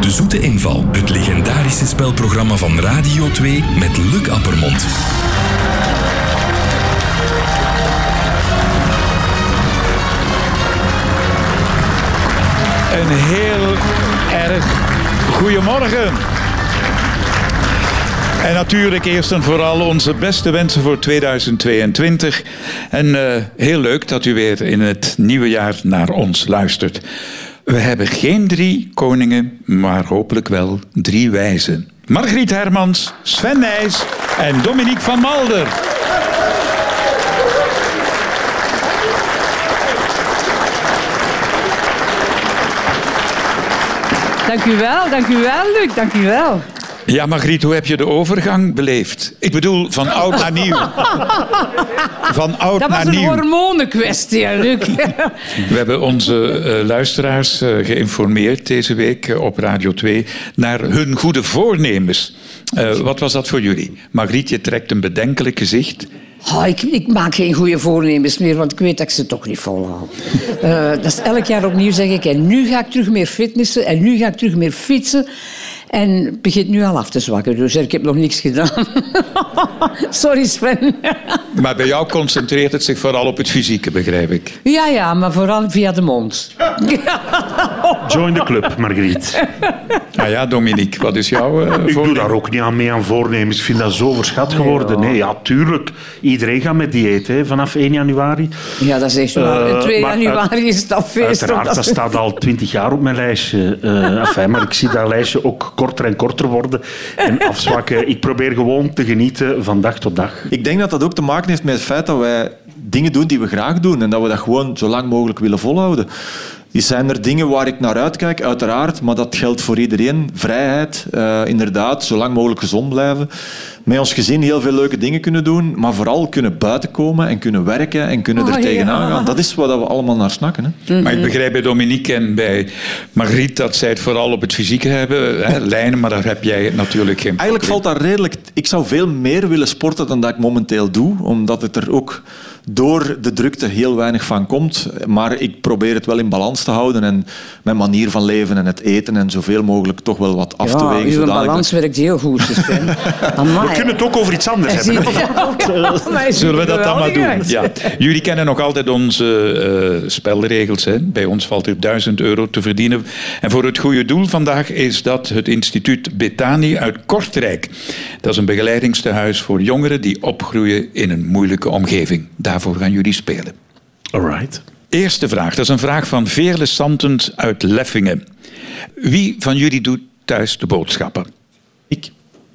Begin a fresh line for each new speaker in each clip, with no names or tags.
De Zoete Inval, het legendarische spelprogramma van Radio 2 met Luc Appermond.
Een heel erg goedemorgen. En natuurlijk eerst en vooral onze beste wensen voor 2022. En eh, heel leuk dat u weer in het nieuwe jaar naar ons luistert. We hebben geen drie koningen, maar hopelijk wel drie wijzen. Margriet Hermans, Sven Nijs en Dominique van Malder.
Dank u wel, dank u wel, Luc, dank u wel.
Ja, Margriet, hoe heb je de overgang beleefd? Ik bedoel, van oud naar nieuw. Van oud
Dat was
naar
een
nieuw.
hormonenkwestie, hè, Luc.
We hebben onze eh, luisteraars eh, geïnformeerd deze week eh, op Radio 2 naar hun goede voornemens. Eh, wat was dat voor jullie? Margriet, je trekt een bedenkelijk gezicht.
Oh, ik, ik maak geen goede voornemens meer, want ik weet dat ik ze toch niet volhoud. Eh, dat is elk jaar opnieuw zeg ik, en nu ga ik terug meer fitnessen, en nu ga ik terug meer fietsen. En het begint nu al af te zwakken, dus ik heb nog niks gedaan. Sorry Sven.
Maar bij jou concentreert het zich vooral op het fysieke, begrijp ik.
ja, ja, maar vooral via de mond.
Join the club, Margriet.
Nou ja, Dominique, wat is jouw eh,
Ik doe
voornemen?
daar ook niet aan mee aan voornemens. Ik vind dat zo verschat geworden. Nee, ja, tuurlijk. Iedereen gaat met dieet hè, vanaf 1 januari.
Ja, dat is echt waar.
Eh,
2
maar uit-
januari is het al feest.
Uiteraard,
omdat-
dat staat al twintig jaar op mijn lijstje. Eh, enfin, maar ik zie dat lijstje ook korter en korter worden en afzwakken. Ik probeer gewoon te genieten van dag tot dag.
Ik denk dat dat ook te maken heeft met het feit dat wij dingen doen die we graag doen en dat we dat gewoon zo lang mogelijk willen volhouden. Dus Zijn er dingen waar ik naar uitkijk? Uiteraard, maar dat geldt voor iedereen. Vrijheid, eh, inderdaad, zo lang mogelijk gezond blijven. Met ons gezin heel veel leuke dingen kunnen doen, maar vooral kunnen buiten komen en kunnen werken en kunnen er
Oh,
tegenaan
ja.
gaan. Dat is waar dat we allemaal naar snakken. Hè?
Maar ik begrijp bij Dominique en bij Margriet dat zij het vooral op het fysieke hebben. Hè, lijnen, maar daar heb jij natuurlijk geen
Eigenlijk valt dat redelijk... Ik zou veel meer willen sporten dan dat ik momenteel doe, omdat het er ook door de drukte heel weinig van komt. Maar ik probeer het wel in balans te houden en mijn manier van leven en het eten en zoveel mogelijk toch wel wat af te
ja,
wegen.
uw
zodanig dat-
balans werkt heel goed, Sven.
We kunnen het ook over iets anders hebben. hè.
oh
Zullen we dat dan maar doen? Ja. Jullie kennen nog altijd onze eh, spelregels. Hè? Bij ons valt er 1000 euro te verdienen. En voor het goede doel vandaag is dat het instituut Betani uit Kortrijk. Dat is een begeleidingstehuis voor jongeren die opgroeien in een moeilijke omgeving. Daarvoor gaan jullie spelen.
Alright.
Eerste vraag, dat is een vraag van Veerle Santens uit Leffingen. Wie van jullie doet thuis de boodschappen?
Ik.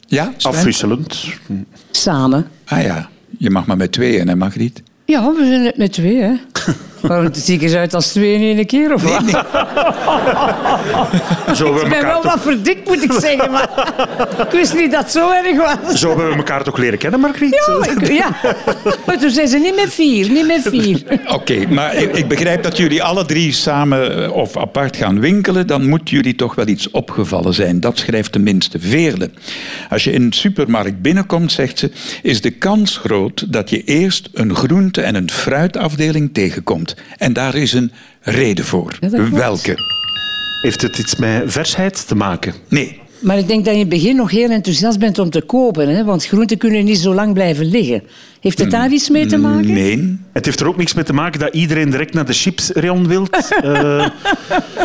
Ja, Sven?
Afwisselend.
Samen.
Ah ja, je mag maar met tweeën, hè Margriet?
Ja, we zijn het met twee, hè. Oh, Waarom het zie ik eens uit als twee in één keer, of wat?
Zo hebben,
ik
we
ben
elkaar
wel
toch,
wat verdikt, moet ik zeggen, maar ik wist niet dat het zo erg was.
zo hebben we elkaar toch leren kennen, Margriet?
Ja, ik- ja. Maar toen zijn ze niet met vier, niet met vier.
Oké, maar ik, ik begrijp dat jullie alle drie samen eh, of apart gaan winkelen. Dan moet jullie toch wel iets opgevallen zijn. Dat schrijft tenminste Veerle. Als je in een supermarkt binnenkomt, zegt ze, is de kans groot dat je eerst een groente- en een fruitafdeling tegenkomt. En daar is een reden voor.
Ja, dat klopt.
Welke?
Heeft het iets met versheid te maken?
Nee.
Maar ik denk dat je in het begin nog heel enthousiast bent om te kopen, hè? want groenten kunnen niet zo lang blijven liggen. Heeft het daar iets mee te maken?
Mm, Nee.
Het heeft er ook niks mee te maken dat iedereen direct naar de Eh, chipsreon wil.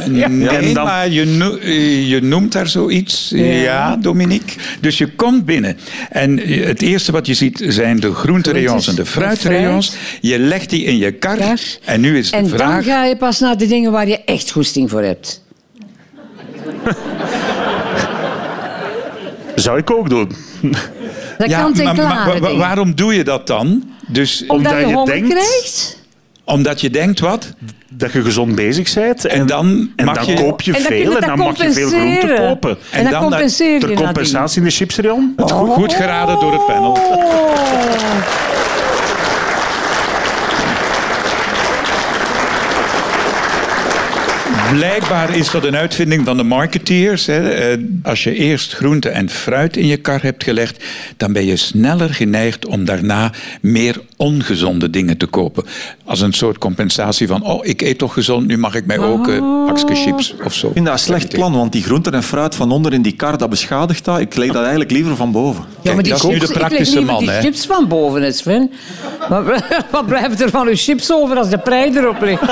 Nee,
En dan-
maar je, no- eh, je noemt daar zoiets. Ja. Dominique. Dus je komt binnen. En je- het eerste wat je ziet zijn de groenterayons en de
Groentes,
fruitrayons. Je legt die in je kar.
Ja.
En nu is de
En dan
vraag...
ga je pas naar de dingen waar je echt goesting voor hebt.
Zou ik ook doen.
Dat
Ja,
kant en
maar- maar
klare
wa- wa-
dingen.
waarom doe je dat dan? Dus
Omdat
omdat
je
je
honger
denkt-
krijgt.
omdat je denkt, wat?
Dat je gezond bezig bent. En,
En dan
en
mag
dan
je...
koop je
En dan kun je
veel en
dat
dan mag je veel
compenseren.
groente kopen.
En,
En
dan, eh,
dan-
compenseer
Ter
je nadien.
compensatie in de chipsreon?
Goed, goed geraden door het panel.
Oh.
Blijkbaar is dat een uitvinding van de marketeers. Hè. Eh, Als je eerst groente en fruit in je kar hebt gelegd, dan ben je sneller geneigd om daarna meer ongezonde dingen te kopen. Als een soort compensatie van, oh, ik eet toch gezond, nu mag ik mij ook een pakje chips of zo.
vind dat een slecht plan, want die groenten en fruit van onder in die kar, dat beschadigt dat. Ik leg dat eigenlijk liever van boven.
Ja, maar die
dat is nu
chips-
de
ik leg
praktische
liever
man,
die
hè.
chips van boven, hè, Sven. Wat, wat blijft er van uw chips over als de prei erop ligt?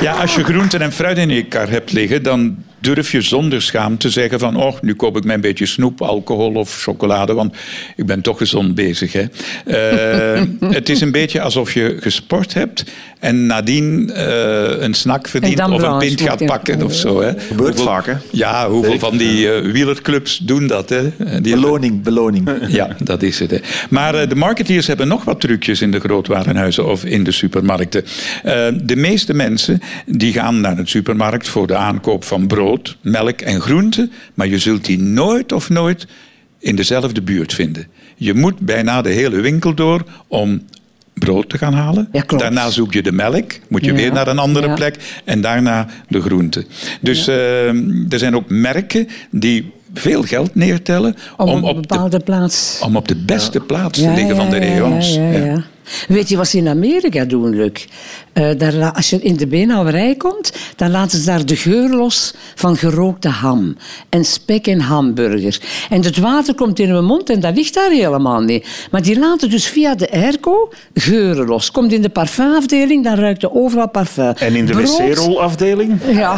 Ja, als je groenten en fruit in je kar hebt liggen, dan durf je zonder schaam te zeggen van, oh, nu koop ik mij een beetje snoep, alcohol of chocolade, want ik ben toch gezond bezig. Hè? Eh, het is een beetje alsof je gesport hebt en nadien eh, een snack verdient of
dan
een
brownies
pint gaat
moet je-
pakken of zo. Hè?
Gebeurt vaak, hè?
Ja, hoeveel van die eh, wielerclubs doen dat? Hè? Eh, Die
Beloning, beloning.
ja, dat is het. Hè. Maar eh, de marketeers hebben nog wat trucjes in de grootwarenhuizen of in de supermarkten. Eh, de meeste mensen die gaan naar een supermarkt voor de aankoop van brood, melk en groenten, maar je zult die nooit of nooit in dezelfde buurt vinden. Je moet bijna de hele winkel door om brood te gaan halen.
Ja, klopt.
Daarna zoek je de melk, moet je
Ja,
weer naar een andere
ja.
plek en daarna de groenten. Dus eh, er zijn ook merken die veel geld neertellen om,
Om, een
op de
bepaalde plaats.
om op de beste plaats te
Ja,
liggen
ja,
van de
ja, ja,
regio's.
ja, ja. Weet je wat ze in Amerika doen, Luc? Eh, daar, la- als je in de beenhouwerij komt, dan laten ze daar de geur los van gerookte ham. En spek en hamburger. En het water komt in hun mond en dat ligt daar helemaal niet. Maar die laten dus via de airco geuren los. Komt in de parfumafdeling, dan ruikt er overal parfum.
En in de
Brood-
wc-rolafdeling?
Ja.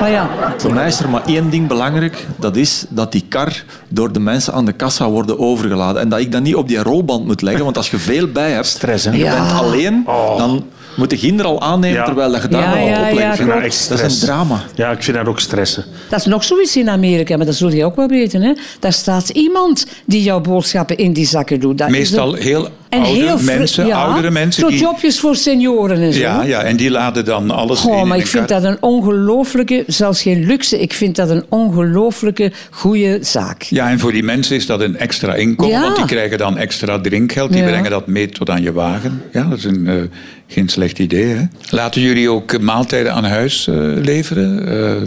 Maar ja,
Voor mij is er maar één ding belangrijk. Dat is dat die kar door de mensen aan de kassa worden overgeladen. En dat ik dat niet op die rolband moet leggen. Want als je veel bij hebt,
Stress, hè? Oh.
en je
Ja.
bent alleen, dan moet je ginder al aannemen
Ja.
terwijl dat je daar
Ja,
nog
ja,
op
ja,
legt.
Ik vind dat
klopt.
echt
Dat is
stress.
een drama.
Ja, ik vind dat ook stressen.
Dat is nog zoiets in Amerika, maar dat zul je ook wel weten. Hè? Daar staat iemand die jouw boodschappen in die zakken doet. Dat is
Meestal
een-
heel
En
oude
heel fri-
mensen,
ja,
oudere mensen.
Zo
Die,
jobjes voor senioren en zo.
ja, ja, en die laden dan alles in.
Goh,
in
maar
een
ik vind
kar.
dat een ongelooflijke, zelfs geen luxe, ik vind dat een ongelooflijke goede zaak.
Ja, en voor die mensen is dat een extra inkomen,
Ja.
want die krijgen dan extra drinkgeld. Die
Ja.
brengen dat mee tot aan je wagen. Ja, dat is een, eh, geen slecht idee. Hè? Laten jullie ook eh, maaltijden aan huis eh, leveren? Eh,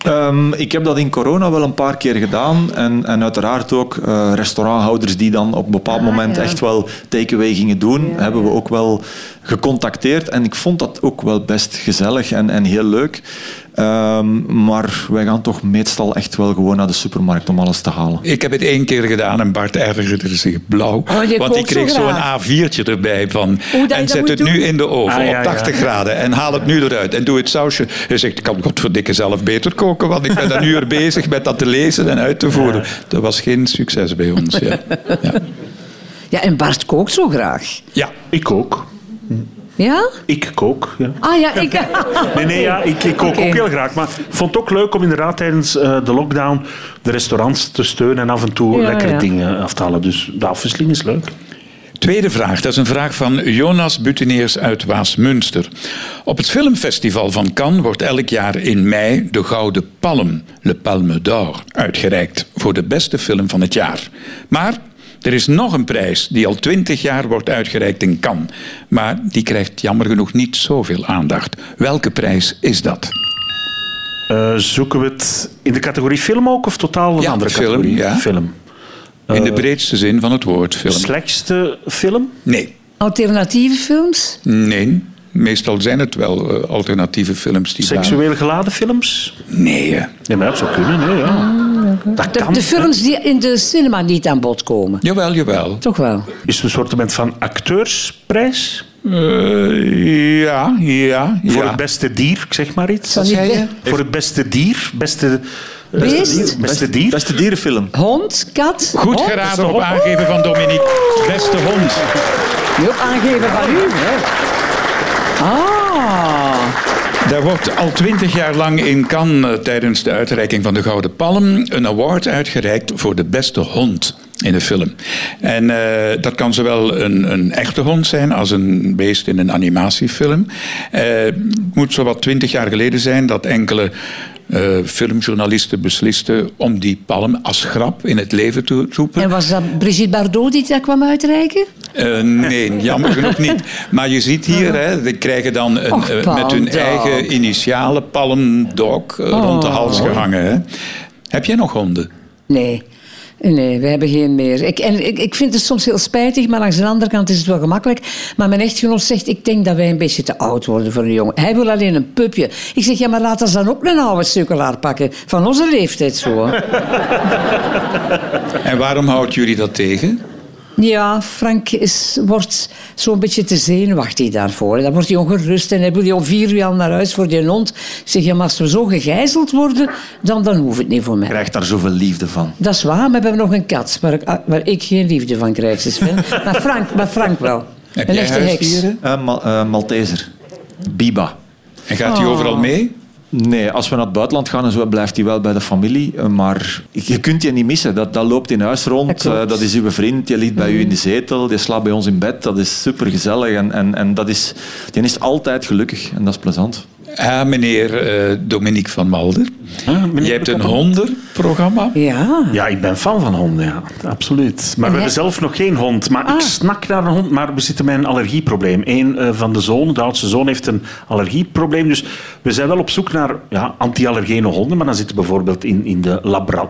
Ehm, ik heb dat in corona wel een paar keer gedaan. En, en uiteraard ook eh, restauranthouders die dan op een bepaald moment echt wel takeaway gingen doen. Hebben we ook wel gecontacteerd. En ik vond dat ook wel best gezellig en, en heel leuk. Ehm, maar wij gaan toch meestal echt wel gewoon naar de supermarkt om alles te halen.
Ik heb het één keer gedaan en Bart ergerde zich blauw.
Oh, je
want ik
kookt zo
kreeg zo'n
graag.
A4'tje erbij van.
je dat
en zet
moet
het
doen?
nu in de oven
Ah, ja,
op
ja.
80 graden. En haal het nu eruit. En doe het sausje. Hij zegt, ik kan godverdikke zelf beter koken. Want ik ben een uur bezig met dat te lezen en uit te voeren. Dat was geen succes bij ons. Ja, ja.
Ja, en Bart kookt zo graag.
ja.
Ik ook.
Ja?
Ik kook, ja.
Ah ja, ik...
Nee, nee, ja, ik, ik kook
Oké.
ook heel graag. Maar ik vond het ook leuk om inderdaad tijdens eh, de lockdown de restaurants te steunen en af en toe
Ja,
lekkere
ja.
dingen af te halen. Dus de afwisseling is leuk.
Tweede vraag, dat is een vraag van Jonas Butineers uit Waasmunster. Op het filmfestival van Cannes wordt elk jaar in mei de Gouden Palm, Le Palme d'Or, uitgereikt voor de beste film van het jaar. Maar er is nog een prijs die al twintig jaar wordt uitgereikt in Cannes, maar die krijgt jammer genoeg niet zoveel aandacht. Welke prijs is dat?
Eh, zoeken we het in de categorie film ook of totaal een
Ja,
andere
film,
categorie?
ja.
Film.
In de breedste zin van het woord film.
Slechtste film?
Nee,
Alternatieve films?
nee. Meestal zijn het wel eh, alternatieve films die daar-
Seksueel geladen films?
Nee, eh. hè.
Nee, maar dat zou kunnen. Nee, ja. Dat
Ah, De,
kan.
de films die in de cinema niet aan bod komen.
jawel, jawel.
Toch wel?
Is het een soort van acteursprijs?
Eh, ja, ja, ja.
Voor het beste dier, ik zeg maar iets.
Zou niet
zei je?
be-
Voor het beste dier, beste... eh,
Beest?
Beste dier. Beste dier.
Beste dierenfilm.
Hond, kat,
Goed
hond?
geraden op aangeven van Dominique. Beste hond.
Nee, op aangeven van u. hè. Ah.
Daar wordt al twintig jaar lang in Cannes eh, tijdens de uitreiking van de Gouden Palm een award uitgereikt voor de beste hond in de film. En eh, dat kan zowel een, een echte hond zijn als een beest in een animatiefilm. Eh, Het moet zowat twintig jaar geleden zijn dat enkele eh, filmjournalisten beslisten om die palm als grap in het leven te roepen.
En was dat Brigitte Bardot die dat kwam uitreiken?
Eh, nee, jammer genoeg niet. Maar je ziet hier, hè, die krijgen dan een,
Och,
eh, met hun
Palm Dog.
eigen initialen Palm Dog eh, rond de hals gehangen. Hè. Heb jij nog honden?
Nee. Nee, we hebben geen meer. Ik, en ik, ik vind het soms heel spijtig, maar langs de andere kant is het wel gemakkelijk. Maar mijn echtgenoot zegt, ik denk dat wij een beetje te oud worden voor een jongen. Hij wil alleen een pupje. Ik zeg, ja, maar laat ons dan ook een oude sukkelaar pakken. Van onze leeftijd zo. hè.
En waarom houdt jullie dat tegen?
Ja, Frank is, wordt zo'n beetje te zenuwachtig daarvoor. Dan wordt hij ongerust en hij wil je om vier uur al naar huis voor die hond. Ik zeg, ja, maar als we zo gegijzeld worden, dan, dan hoeft het niet voor mij.
krijgt daar zoveel liefde van.
Dat is waar, maar we hebben nog een kat waar ik, ah, waar ik geen liefde van krijg, ze Sven. Maar Frank, maar Frank wel.
Heb
een
jij
echte heks.
huisdieren?
Eh, Ma- eh, Malteser. Biba.
En gaat die overal mee?
Nee, als we naar het buitenland gaan en zo, blijft hij wel bij de familie. Eh, Maar je kunt je niet missen. Dat, dat loopt in huis rond. eh,
Dat
Dat,
klopt.
dat is uw vriend. Je ligt bij u in de zetel. Die slaapt bij ons in bed. Dat is supergezellig. En, en, en dat is, die is altijd gelukkig. En dat is plezant.
Ah, meneer eh, Dominique van Malder. Je hebt een hondenprogramma.
Ja.
Ja, ik ben fan van honden, ja. Absoluut. Maar we hebben zelf nog geen hond. Maar
Ah.
ik snak naar een hond, maar we zitten met een allergieprobleem. Eén eh, van de zonen, de oudste zoon, heeft een allergieprobleem. Dus we zijn wel op zoek naar ja, anti-allergene honden. Maar dan zitten we bijvoorbeeld in, in de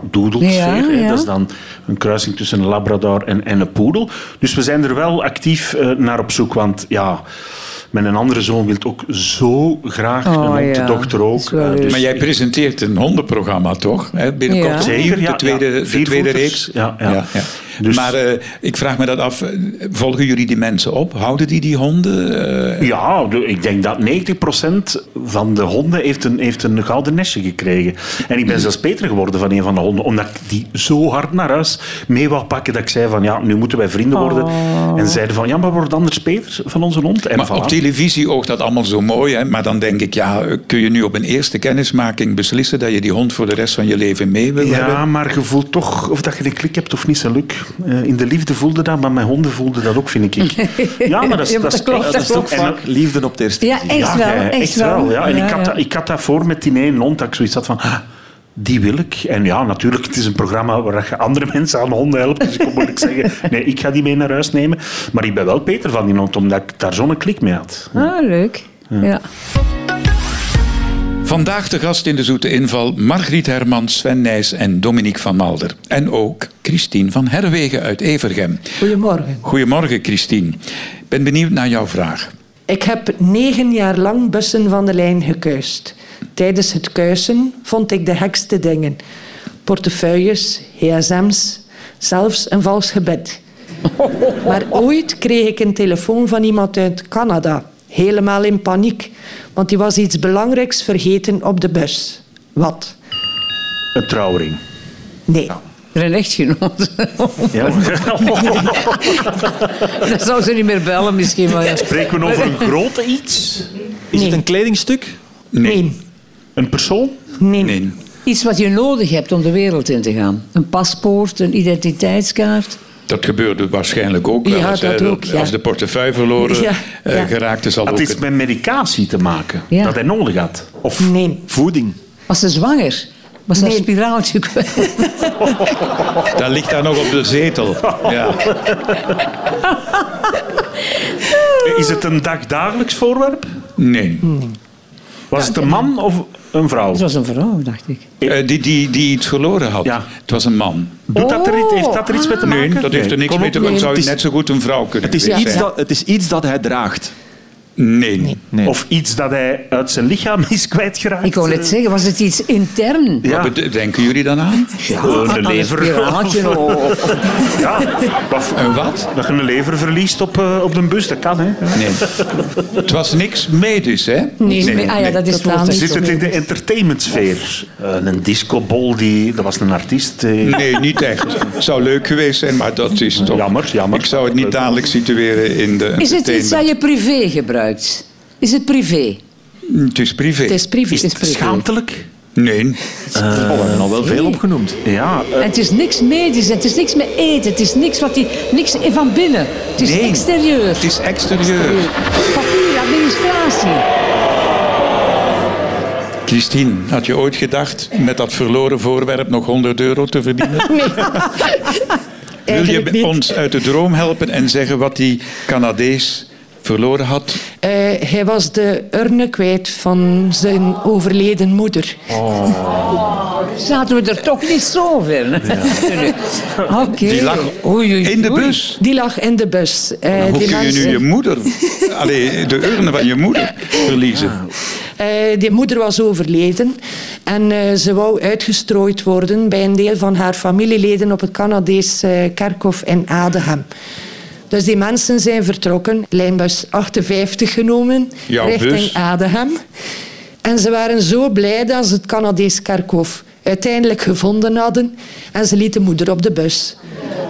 labradoodelsfeer.
Ja,
hè.
ja.
Dat is dan een kruising tussen een labrador en, en een poedel. Dus we zijn er wel actief eh, naar op zoek. Want ja, mijn andere zoon wil ook zo graag een
Oh,
hond.
ja.
De dochter ook.
Dat is wel
Eh, dus
leuk.
Maar jij presenteert een hondenprogramma, toch? Hè, binnenkort
Ja.
opnieuw,
Zeker, ja,
de tweede,
ja.
de tweede
Viervoeters,
reeks.
ja, ja.
Dus...
Dus-
Maar eh, ik vraag me dat af. eh, Volgen jullie die mensen op? Houden die die honden? eh?
Ja, de- ik denk dat 90% van de honden heeft een, heeft een gouden nestje gekregen. En ik ben zelfs beter geworden van een van de honden, omdat ik die zo hard naar huis mee wou pakken dat ik zei van ja, nu moeten wij vrienden worden. En zeiden van ja, maar wordt anders beter van onze hond. En
maar
voilà.
op televisie oogt dat allemaal zo mooi. Hè? Maar dan denk ik, ja, eh, kun je nu op een eerste kennismaking beslissen dat je die hond voor de rest van je leven mee wil hebben?
Ja, maar je voelt toch of dat je een klik hebt of niet, zijn luk. Eh, in de liefde voelde dat, maar mijn honden voelden dat ook, vind ik. Ja, maar dat is,
Ja, maar
dat is
dat klopt,
echt-
Dat is ook
en-
vaak liefde op het eerste
Ja,
gezicht.
echt wel.
jij,
Echt, wel.
eh, ja. En
Ja,
ik, had
ja.
Dat, ik had dat voor met die ene hond, dat ik zoiets had van... "Ah, Die wil ik. En ja, natuurlijk, het is een programma waar je andere mensen aan honden helpt. Dus ik kon moeilijk zeggen, nee, ik ga die mee naar huis nemen. Maar ik ben wel beter van die hond, omdat ik daar zo'n klik mee had.
Ah, leuk. Ja.
Vandaag de gast in de Zoete Inval, Margriet Hermans, Sven Nijs en Dominique van Malder. En ook Christine van Herwegen uit Evergem.
Goedemorgen.
Goedemorgen, Christine. Ik ben benieuwd naar jouw vraag.
Ik heb negen jaar lang bussen van de lijn gekuist. Tijdens het kuisen vond ik de gekste dingen. Portefeuilles, gsm's, zelfs een vals gebed. Maar ooit kreeg ik een telefoon van iemand uit Canada. Helemaal in paniek, want die was iets belangrijks vergeten op de bus. Wat?
Een trouwring.
Nee.
Een echtgenoot.
Ja.
Dan zou ze niet meer bellen misschien. Maar ja.
Spreken we over een groot iets?
Is het een kledingstuk?
Nee.
Een persoon?
Nee.
Nee.
Iets wat je nodig hebt om de wereld in te gaan. Een paspoort, een identiteitskaart.
Dat gebeurde waarschijnlijk ook wel
Ja,
eens, hè.
dat ook, ja.
Als de portefeuille verloren
Ja,
eh,
ja.
geraakt is, al ook
Het is
het-
met medicatie te maken,
Ja.
dat hij nodig had.
Of
Nee.
voeding?
Was ze zwanger? Was ze een
Nee.
spiraaltje kwijt?
dat ligt daar nog op de zetel. Ja.
Eh, Is het een dagdagelijks voorwerp?
Nee.
Was het een man of een vrouw?
Het was een vrouw, dacht ik.
Eh, die, die, die iets verloren had.
Ja.
Het was een man.
Doet dat er, iets- heeft dat er iets met te maken?
Nee, dat heeft er niks mee te maken. Het
Het
zou
is-
net zo goed een vrouw kunnen
Het is,
geweest
iets
zijn.
dat, het is iets dat hij draagt.
Nee.
Nee.
Of iets dat hij uit zijn lichaam is kwijtgeraakt. eh,
Ik wou net
eh,
zeggen, was het iets intern?
Ja.
Wat bed- denken jullie dan aan? Oh,
Ja, een
Aan een
lever.
spiraaltje
Of- eh,
of-
Ja, of-
Een wat?
dat je een lever verliest op, eh, op de bus, dat kan. Hè.
Nee. het was niks medisch, hè?
Nee, nee, ah ja, dat is
Dat
waar.
was
niet
Zit
zo.
het in de entertainmentsfeer? Eh, een discobol, die, dat was een artiest. eh.
Nee, niet echt. Het zou leuk geweest zijn, maar dat is toch...
Jammer, jammer.
Ik zou het niet dadelijk situeren in de
Is het iets dat
entertainment.
je privé gebruikt? Is het privé?
Het is privé.
Het is privé.
Is
Het is
het
privé.
schaamtelijk?
Nee.
Oh, we hebben al wel veel opgenoemd.
Ja, eh,
En het is niks medisch, en het is niks met eten, het is niks, wat die, niks van binnen. Het is
Nee.
exterieur.
Het is exterieur.
Papier, administratie.
Christine, had je ooit gedacht met dat verloren voorwerp nog 100 euro te verdienen?
Nee.
Wil je
eigenlijk niet.
ons uit de droom helpen en zeggen wat die Canadees verloren had?
Eh, hij was de urne kwijt van zijn overleden moeder.
Zaten we er toch niet zo ver? hè? Oké.
Die lag
Oei, oei,
in de
oei.
bus.
Die lag in de bus. Eh,
Hoe
die,
kun je nu
mensen-
je moeder, allee, de urne van je moeder verliezen?
eh, die moeder was overleden en eh, ze wou uitgestrooid worden bij een deel van haar familieleden op het Canadees eh, kerkhof in Adenham. Dus die mensen zijn vertrokken, lijnbus 58 genomen,
Jouw
richting
bus.
Adenham. En ze waren zo blij dat ze het Canadees kerkhof uiteindelijk gevonden hadden. En ze lieten moeder op de bus.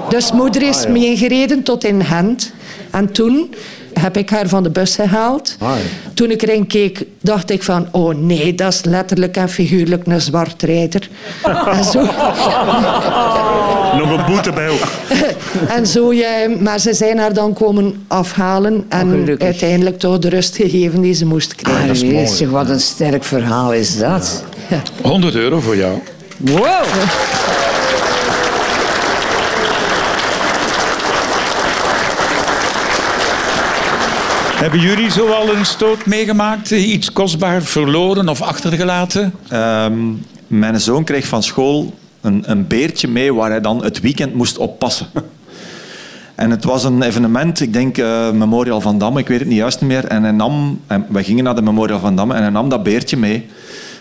Dus moeder
Ah,
is meegereden tot in Gent. En toen heb ik haar van de bus gehaald.
Ah,
Toen ik erin keek, dacht ik van... Oh nee, dat is letterlijk en figuurlijk een zwartrijder. en zo...
eh, Nog een boete bij ook.
En zo, ja, maar ze zijn haar dan komen afhalen en
Ah, gelukkig.
uiteindelijk toch de rust gegeven die ze moest krijgen.
Ah, jezus, wat een sterk verhaal is dat.
100 euro voor jou.
Wow.
Hebben jullie zo al een stoot meegemaakt? eh, Iets kostbaar verloren of achtergelaten?
Ehm, mijn zoon kreeg van school een, een beertje mee waar hij dan het weekend moest oppassen. En het was een evenement, ik denk eh, Memorial van Damme, ik weet het niet juist meer. En hij nam, en wij gingen naar de Memorial van Damme en hij nam dat beertje mee.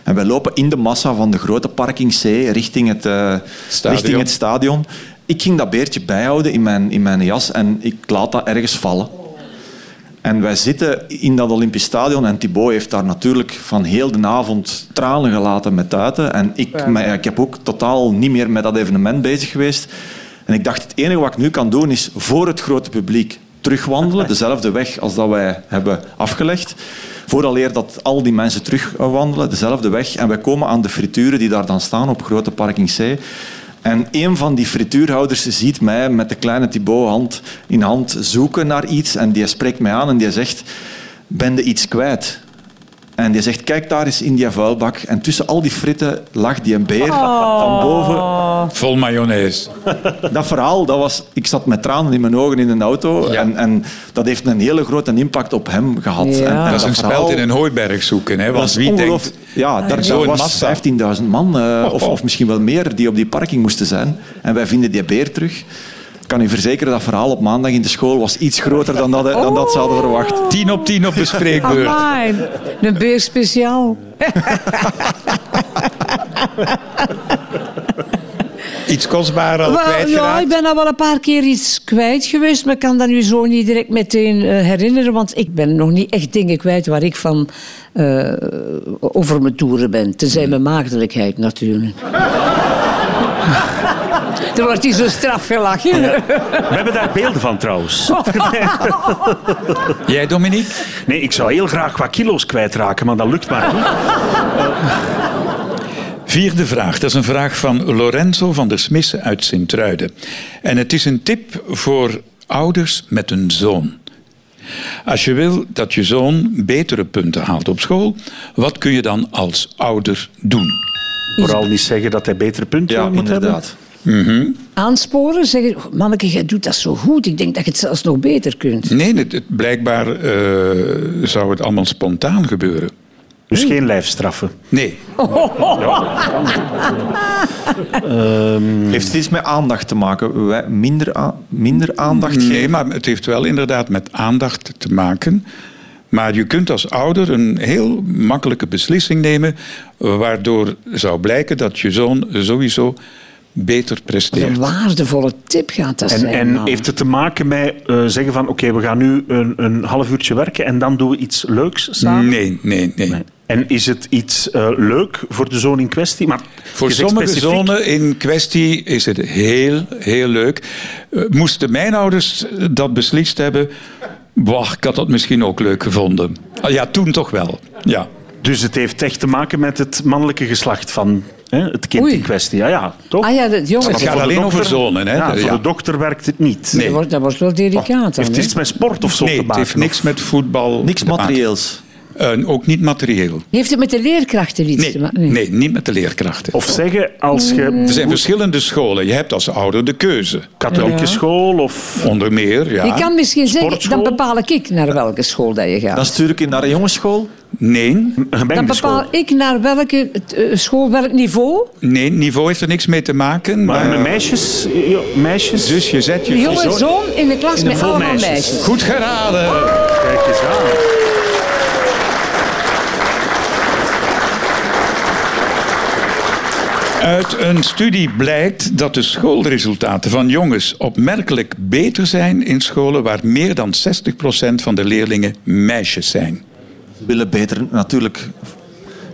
En wij lopen in de massa van de grote parking C richting het, eh,
Stadion.
richting het stadion. Ik ging dat beertje bijhouden in mijn, in mijn jas en ik laat dat ergens vallen. En wij zitten in dat Olympisch Stadion en Thibaut heeft daar natuurlijk van heel de avond tranen gelaten met tuiten. En ik, maar ja, ik heb ook totaal niet meer met dat evenement bezig geweest. En ik dacht, het enige wat ik nu kan doen is voor het grote publiek terugwandelen, dezelfde weg als dat wij hebben afgelegd. Vooraleer dat al die mensen terugwandelen, dezelfde weg. En wij komen aan de frituren die daar dan staan op Grote Parking C. En een van die frituurhouders ziet mij met de kleine Thibaut hand in hand zoeken naar iets. En die spreekt mij aan en die zegt, ben je iets kwijt? En die zegt, kijk daar is in die vuilbak. En tussen al die fritten lag die een beer van boven
Vol mayonaise.
dat verhaal, dat was, ik zat met tranen in mijn ogen in een auto.
Ja.
En, en dat heeft een hele grote impact op hem gehad.
Ja.
En, en
dat is een
verhaal-
speld in een hooiberg zoeken. Hè?
dat
Want
is
wie denkt... Ah,
ongeloof- Ja, daar
Zo'n
daar was
massa.
15.000 man, eh, of,
oh.
of misschien wel meer, die op die parking moesten zijn. En wij vinden die beer terug. Ik kan u verzekeren, dat verhaal op maandag in de school was iets groter dan dat, eh, dan dat ze hadden verwacht.
10 op 10 op de spreekbeurt.
Amai. Een beer speciaal.
Iets kostbaar al
Wel, ja, ik
kwijtgeraakt.
ben al wel een paar keer iets kwijt geweest, maar ik kan dat nu zo niet direct meteen eh, herinneren, want ik ben nog niet echt dingen kwijt waar ik van eh, over mijn toeren ben. Tenzij mijn maagdelijkheid natuurlijk. Er wordt hier zo straf gelachen.
We hebben daar beelden van trouwens.
Jij, Dominique?
Nee, ik zou heel graag wat kilo's kwijtraken, maar dat lukt maar niet.
Vierde vraag. Dat is een vraag van Lorenzo van der Smissen uit Sint-Truiden. En het is een tip voor ouders met een zoon. Als je wil dat je zoon betere punten haalt op school, wat kun je dan als ouder doen?
Vooral niet zeggen dat hij betere punten
Ja,
moet hebben.
inderdaad.
Aansporen, zeggen, "Oh, manneke, jij doet dat zo goed. Ik denk dat je het zelfs nog beter kunt.
Nee, het, het- blijkbaar eh, zou het allemaal spontaan gebeuren.
Dus geen lijfstraffen.
Nee,
Heeft het iets met aandacht te maken? Wij- minder, a- minder aandacht
Nee,
geven?
maar het heeft wel inderdaad met aandacht te maken. Maar je kunt als ouder een heel makkelijke beslissing nemen, waardoor zou blijken dat je zoon sowieso beter
Wat een
presteert.
waardevolle tip gaat dat
En,
zijn.
en
man.
heeft het te maken met eh, zeggen van oké, we gaan nu een, een half uurtje werken en dan doen we iets leuks samen?
Nee, nee, nee.
En is het iets eh, leuk voor de zoon in kwestie? Maar
Voor
je zegt
sommige
specifiek-
zonen in kwestie is het heel, heel leuk. Eh, Moesten mijn ouders dat beslist hebben, wach, ik had dat misschien ook leuk gevonden. Ah, ja, toen toch wel. Ja.
Dus het heeft echt te maken met het mannelijke geslacht van hè, het kind
Oei.
in kwestie. Ja, ja, toch?
Ah ja, dat,
Het
jongens,
gaat
Voor de
alleen over
dokter-
zonen. Hè?
Ja, voor
Ja.
de dokter werkt het niet.
Nee.
dat, wordt, dat wordt wel delicaat. dan,
Heeft
hè.
het iets met sport of zo
Nee,
te
het
maken?
heeft niks
Of-
met voetbal
Niks
te maken.
materieels.
En ook niet materieel.
Heeft het met de leerkrachten iets
Nee,
te maken?
nee, niet met de leerkrachten.
Of zeggen, als je...
Er Mm. zijn verschillende scholen. Je hebt als ouder de keuze.
Katholieke school of...
Onder meer, ja.
Je kan misschien zeggen,
Sportschool?
dan bepaal ik naar welke school dat je gaat.
Dan stuur ik je naar een jongensschool.
Nee,
Een
dan
gemengde
bepaal
school.
ik naar welke eh, school, welk niveau.
nee, niveau heeft er niks mee te maken.
Maar
Maar,
met meisjes... ja, Meisjes...
dus je zet je...
De jonge zoon in de klas
In de
met
vol
allemaal
meisjes.
meisjes.
Goed geraden.
Kijk eens aan.
Uit een studie blijkt dat de schoolresultaten van jongens opmerkelijk beter zijn in scholen waar meer dan 60% van de leerlingen meisjes zijn.
Ze willen beter natuurlijk.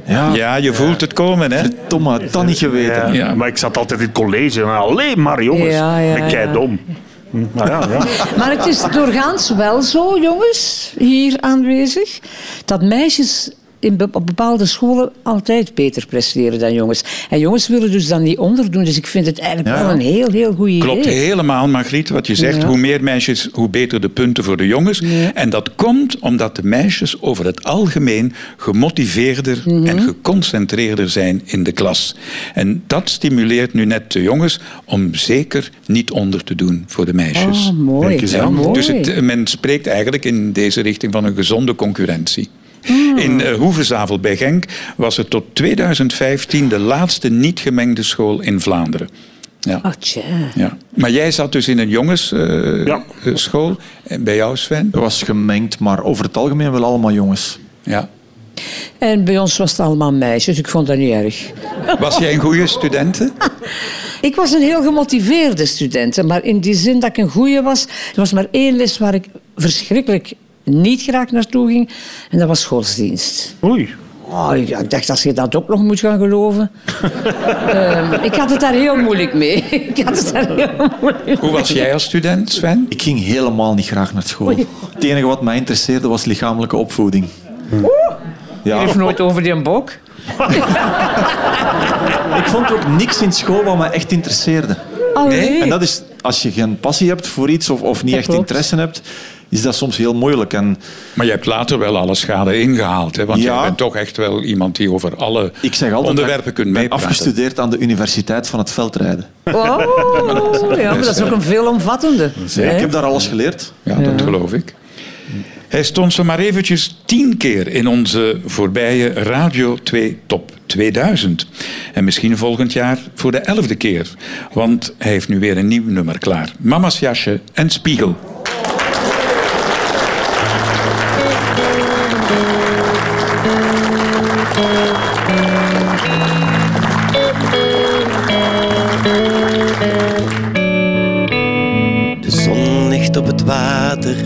Ja,
Ja, je voelt het komen, hè?
Tom had dat niet geweten.
Ja,
Ja.
Maar ik zat altijd in het college. en alleen maar jongens.
Ja, ja,
en kei
ja.
dom. Hm, Maar ja, ja.
Maar het is doorgaans wel zo, jongens, hier aanwezig, dat meisjes in be- op bepaalde scholen altijd beter presteren dan jongens. En jongens willen dus dan niet onderdoen. Dus ik vind het eigenlijk
Ja.
wel een heel, heel goed idee.
Klopt helemaal, Margriet, wat je zegt.
Ja.
Hoe meer meisjes, hoe beter de punten voor de jongens. En dat komt omdat de meisjes over het algemeen gemotiveerder
Mhm.
en geconcentreerder zijn in de klas. En dat stimuleert nu net de jongens om zeker niet onder te doen voor de meisjes.
Oh,
Kijk
mooi.
eens
Ja,
aan.
mooi.
Dus het, men spreekt eigenlijk in deze richting van een gezonde concurrentie.
Hmm.
In eh, Hoevenzavel bij Genk was het tot 2015 de laatste niet gemengde school in Vlaanderen. Ja.
Ah, tja.
Ja. Maar jij zat dus in een eh,
Ja.
jongensschool. Bij jou, Sven?
Dat was gemengd, maar over het algemeen wel allemaal jongens.
Ja.
En bij ons was het allemaal meisjes. Ik vond dat niet erg.
Was jij een goede student?
Ik was een heel gemotiveerde student, hè, maar in die zin dat ik een goeie was. Er was maar één les waar ik verschrikkelijk niet graag naartoe ging, en dat was godsdienst.
Oei.
Oh, ik ik dacht, als je dat ook nog moet gaan geloven. Ehm, ik had het daar heel moeilijk mee. ik had het daar heel moeilijk mee.
Hoe was jij als student, Sven?
Ik ging helemaal niet graag naar school. Het enige wat mij interesseerde was lichamelijke opvoeding. Ja,
Of nooit over die bok.
ik vond ook niks in school wat me echt interesseerde.
Allee.
En dat is, als je geen passie hebt voor iets of, of niet echt
klopt.
interesse hebt, is dat soms heel moeilijk. En
Maar je hebt later wel alle schade ingehaald. Hè? Want
Ja.
jij bent toch echt wel iemand die over alle
ik zeg altijd,
onderwerpen
dat
kunt
ik ben
meepraten.
afgestudeerd aan de universiteit van het veldrijden.
Oh, ja, maar dat is ook een veelomvattende.
Ik
hè.
heb daar alles geleerd.
Ja, dat geloof ik. Hij stond zo maar eventjes tien keer in onze voorbije Radio 2 Top 2000. En misschien volgend jaar voor de elfde keer. Want hij heeft nu weer een nieuw nummer klaar. Mama's jasje en spiegel.
De zon ligt op het water,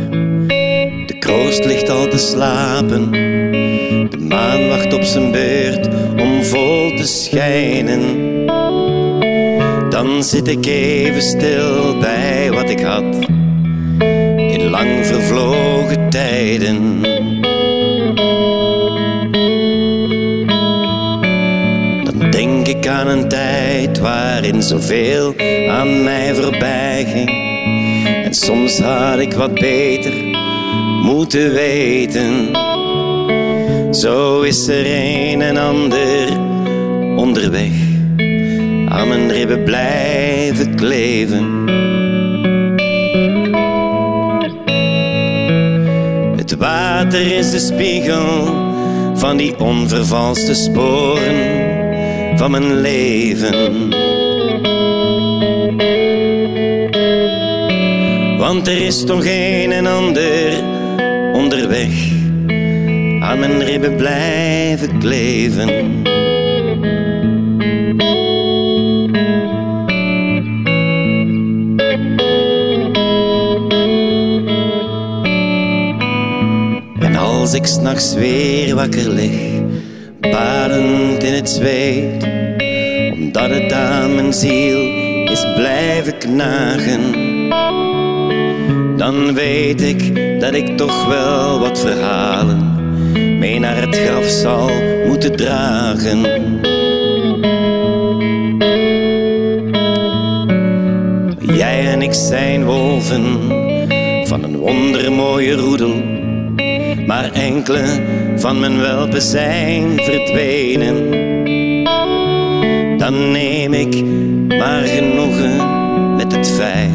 de kroost ligt al te slapen. De maan wacht op zijn beurt om vol te schijnen. Dan zit ik even stil bij wat ik had in lang vervlogen tijden. Dan denk ik aan een tijd waarin zoveel aan mij voorbij ging. En soms had ik wat beter moeten weten. Zo is er een en ander onderweg. Aan mijn ribben blijven kleven. Het water is de spiegel van die onvervalste sporen van mijn leven. Want er is toch een en ander onderweg aan mijn ribben blijven kleven. En als ik s'nachts weer wakker lig, badend in het zweet, omdat het aan mijn ziel is blijven knagen dan weet ik dat ik toch wel wat verhalen mee naar het graf zal moeten dragen. Jij en ik zijn wolven van een wondermooie roedel, maar enkele van mijn welpen zijn verdwenen. Dan neem ik maar genoegen met het feit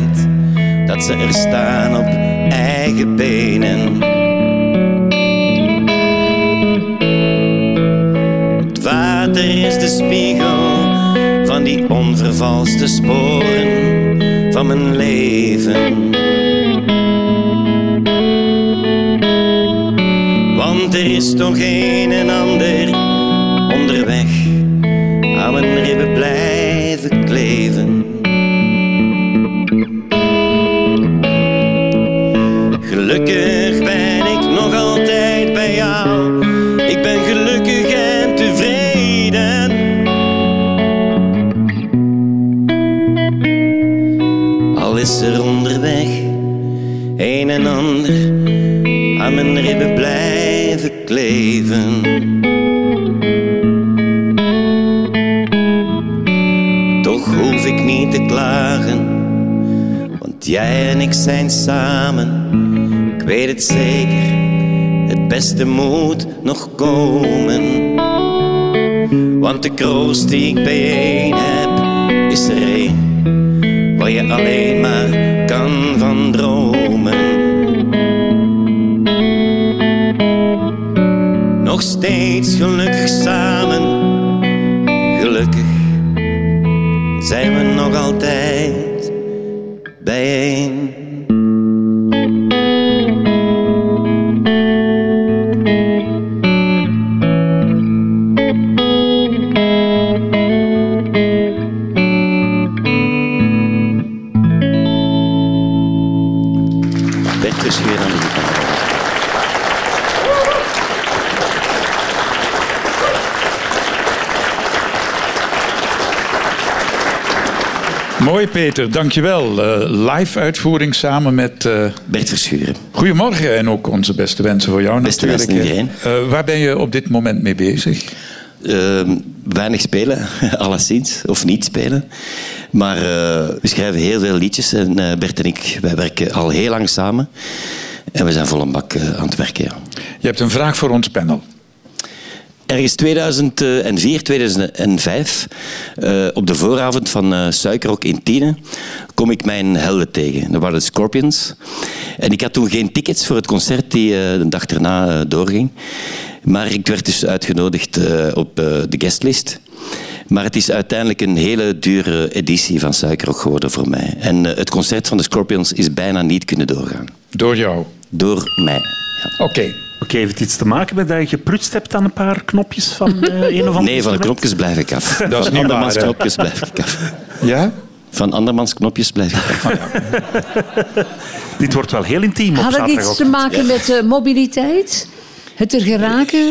dat ze er staan op eigen benen. Het water is de spiegel van die onvervalste sporen van mijn leven. Want er is toch een en ander onderweg aan mijn ribben blijven kleven. Gelukkig ben ik nog altijd bij jou. Ik ben gelukkig en tevreden. Al is er onderweg een en ander aan mijn ribben blijven kleven. Toch hoef ik niet te klagen, want jij en ik zijn samen. Ik weet het zeker, het beste moet nog komen. Want de kroost die ik bijeen heb, is er één waar je alleen maar kan van dromen. nog steeds gelukkig samen. Gelukkig zijn we nog altijd bijeen. Bert is weer aan de gitaar.
Mooi, Peter. Dankjewel. Eh live uitvoering samen met... eh,
Bert Verschuren.
Goedemorgen en ook onze beste wensen voor jou
Beste
natuurlijk.
wensen,
hè. Eh, waar ben je op dit moment mee bezig?
Ehm, weinig spelen, alleszins, of niet spelen. Maar eh, we schrijven heel veel liedjes en eh, Bert en ik, wij werken al heel lang samen. En we zijn vol een bak eh, aan het werken. Ja.
Je hebt een vraag voor ons panel.
Ergens 2004, 2005, eh, op de vooravond van eh Suikerrok in Tiene, kom ik mijn helden tegen. Dat waren de Scorpions. En ik had toen geen tickets voor het concert die eh, de dag erna eh, doorging. Maar ik werd dus uitgenodigd eh, op eh, de guestlist. Maar het is uiteindelijk een hele dure editie van Suikerrok geworden voor mij. En eh, het concert van de Scorpions is bijna niet kunnen doorgaan.
Door jou.
Door mij. Ja.
Oké.
Oké, heeft het iets te maken met dat je geprutst hebt aan een paar knopjes van eh, een of ander
Nee, van de
instrument?
knopjes blijf ik af.
Dat is
van
niet
andermans
waar, hè?
knopjes blijf ik af.
Ja?
Van andermans knopjes blijf ik af.
Dit wordt wel heel intiem op
Had het iets te
zaterdag.
maken met eh, mobiliteit? Het er geraken